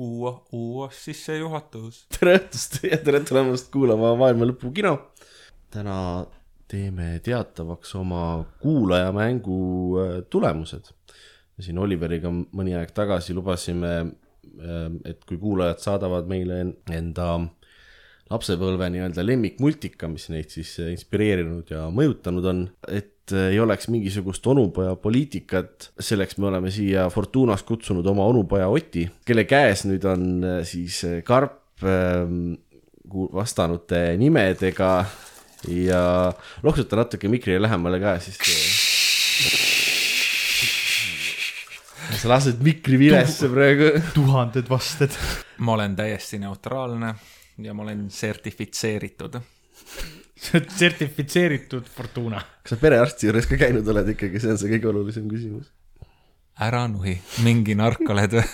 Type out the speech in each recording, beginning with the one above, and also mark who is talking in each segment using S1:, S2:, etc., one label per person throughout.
S1: uue , uues sissejuhatus .
S2: tere õhtust ja tere tulemast kuulama Maailma Lõpu kino . täna teeme teatavaks oma kuulajamängu äh, tulemused . siin Oliveriga mõni aeg tagasi lubasime , et kui kuulajad saadavad meile en- enda lapsepõlve nii-öelda lemmikmultika , mis neid siis äh, inspireerinud ja mõjutanud on , et äh, ei oleks mingisugust onupoja poliitikat , selleks me oleme siia Fortunas kutsunud oma onupoja Oti , kelle käes nüüd on äh, siis äh, karp ähm, ku- vastanute nimedega ja loksuta natuke mikri lähemale ka , siis sa lased mikri vilesse praegu
S3: tuhanded vasted .
S1: ma olen täiesti neutraalne ja ma olen sertifitseeritud .
S3: see on sertifitseeritud Fortuna .
S2: kas sa perearsti juures ka käinud oled ikkagi , see on see kõige olulisem küsimus .
S1: ära nuhi , mingi nark oled või ?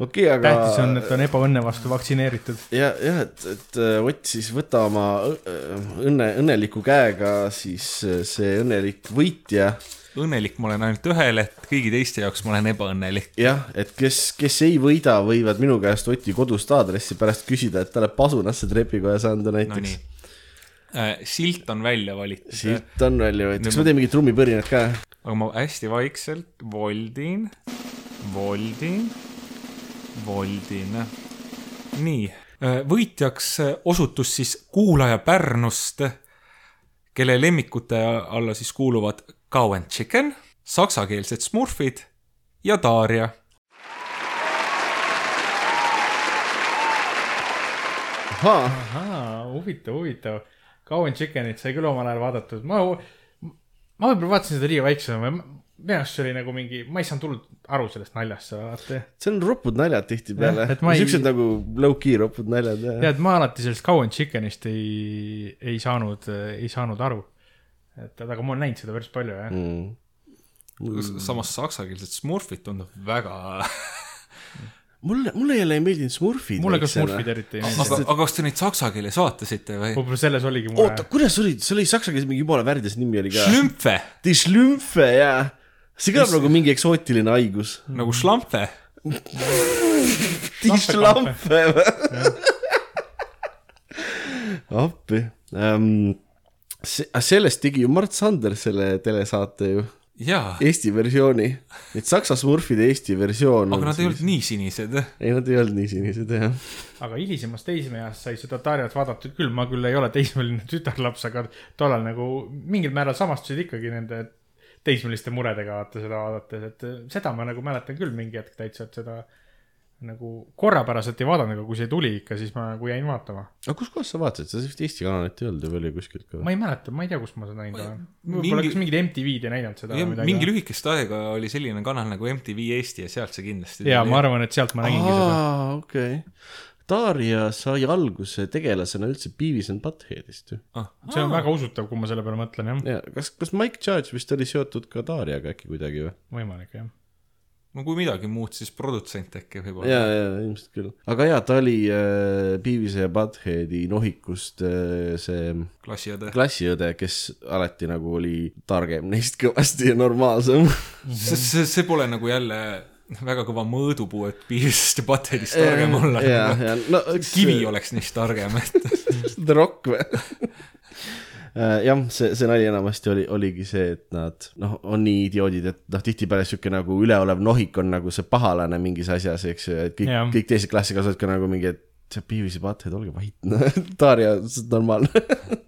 S2: okei okay, , aga .
S3: tähtis on , et on ebaõnne vastu vaktsineeritud .
S2: ja , jah , et , et äh, Ott siis võta oma õ- õnne , õnneliku käega siis äh, see õnnelik võitja .
S1: õnnelik ma olen ainult ühel , et kõigi teiste jaoks ma olen ebaõnnelik .
S2: jah , et kes , kes ei võida , võivad minu käest Oti kodust aadressi pärast küsida , et talle pasunasse trepikojas anda näiteks
S1: Nonii Äh,
S2: no .
S1: silt on välja valitud ,
S2: siit on välja võetud , kas me teeme mingit trummipõrinat ka ?
S1: aga ma hästi vaikselt voldin , voldin , voldin . nii , võitjaks äh, osutus siis kuulaja Pärnust , kelle lemmikute alla siis kuuluvad Cow and Chicken , saksakeelsed Smurfid ja Darja .
S2: ahhaa ,
S3: ahaa , huvitav , huvitav . Cowan Chickenit sai küll omal ajal vaadatud , ma , ma võib-olla vaatasin seda liiga väiksena või ma- minu arust see oli nagu mingi , ma ei saanud hullult aru sellest naljast seal alati .
S2: see on ropud naljad tihtipeale
S3: Jah, , et ma ei-
S2: siuksed nagu low-key ropud naljad .
S3: tead , ma alati sellest Cowan Chickenist ei , ei saanud , ei saanud aru . et , aga ma olen näinud seda päris palju jah .
S2: Mm.
S1: samas saksakeelsed Smurfid tundub väga ,
S2: mulle , mulle jälle ei meeldinud Smurfid .
S3: mulle ka Smurfid eriti ei meeldi .
S1: aga , aga kas te neid saksa keeles vaatasite või ?
S3: võib-olla selles oligi mure
S2: oota ,. kuidas oli , see oli saksa keeles mingi jumala värdjas nimi oli ka .
S1: Schlümpfe
S2: Die Schlümpfe , jaa . see kõlab nagu mingi eksootiline haigus .
S1: nagu šlampfe
S2: Die
S3: Schlampfe.
S2: Schlampfe või ? appi um, . sellest tegi ju Mart Sander selle telesaate ju ,
S1: jaa ,
S2: Eesti versiooni . et saksa smurfide Eesti versioon .
S1: aga nad ei olnud nii sinised .
S2: ei , nad ei olnud nii sinised jah .
S3: aga hilisemas teismeeas sai seda Darjat vaadatud küll , ma küll ei ole teismeline tütarlaps , aga tollal nagu mingil määral samastusid ikkagi nende teismeliste muredega vaata seda vaadates , et seda ma nagu mäletan küll mingi hetk täitsa , et seda nagu korrapäraselt ei vaadanud , aga kui see tuli ikka , siis ma nagu jäin vaatama .
S2: aga kuskohast sa vaatasid , seda sellist Eesti kanalit ei olnud ju veel ju kuskilt ka või ?
S3: ma ei mäleta , ma ei tea , kus ma seda näinud olen . võib-olla
S1: mingi-
S3: kas mingid MTV-d ei näidanud seda
S1: Ja
S3: või
S1: mingi
S3: midagi .
S1: lühikest aega oli selline kanal nagu MTV Eesti ja sealt see kindlasti
S3: jaa , ma arvan , et sealt ma nägingi seda .
S2: aa , okei . Darja sai alguse tegelasena üldse Beavis and Buttheadist ju .
S1: ah,
S3: see on väga usutav , kui ma selle peale mõtlen , jah .
S2: ja kas , kas Mike Judge vist oli seotud ka Darjaga äkki kuidagi või ?
S3: võimalik , jah .
S1: no kui midagi muud , siis produtsent äkki
S2: ja
S1: võib-olla .,
S2: ja ilmselt küll , aga ja ta oli äh, Beavise ja Buttheadi nohikust äh, see
S1: klassiõde .
S2: klassiõde , kes alati nagu oli targem neist kõvasti ja normaalsem .
S3: Mhm.
S1: see , see , see pole nagu jälle väga kõva mõõdupuu , et piirist ja patedist targem olla .
S2: ja , ja no eks
S1: kivi oleks neist targem , et
S2: The Rock või ? Äh, jah , see , see nali enamasti oli , oligi see , et nad noh , on nii idioodid , et noh , tihtipeale sihuke nagu üleolev nohik on nagu see pahalane mingis asjas , eks ju , et kõik
S3: Jah. ,
S2: kõik teised klassikased ka nagu mingi , et see Beavis ja Butthead , olge vait , noh , Darja , see on normaalne .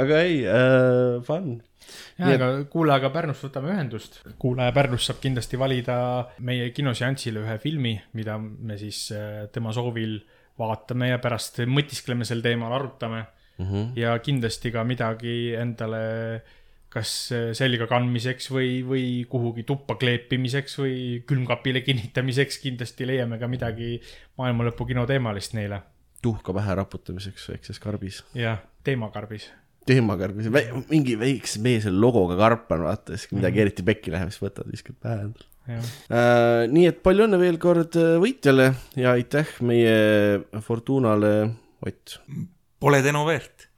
S2: aga ei äh, , fun .
S3: jaa , aga kuulajaga Pärnust võtame ühendust . kuulaja Pärnust saab kindlasti valida meie kinoseansile ühe filmi , mida me siis äh, tema soovil vaatame ja pärast mõtiskleme sel teemal , arutame mm .
S2: Mhm.
S3: -hmm. ja kindlasti ka midagi endale kas äh, selga kandmiseks või , või kuhugi tuppa kleepimiseks või külmkapile kinnitamiseks kindlasti leiame ka midagi maailma lõpu kino teemalist neile .
S2: tuhka pähe raputamiseks väikses karbis ,
S3: jah , teemakarbis .
S2: teemakarbis , mingi väikse mees logoga karp on , vaata , siis kui midagi eriti pekki läheb , siis võtad , viskad pähe endale .
S3: jah ,
S2: Äh, nii et palju õnne veel kord äh, võitjale ja aitäh meie Fortunale , Ott .
S1: pole Deno väärt .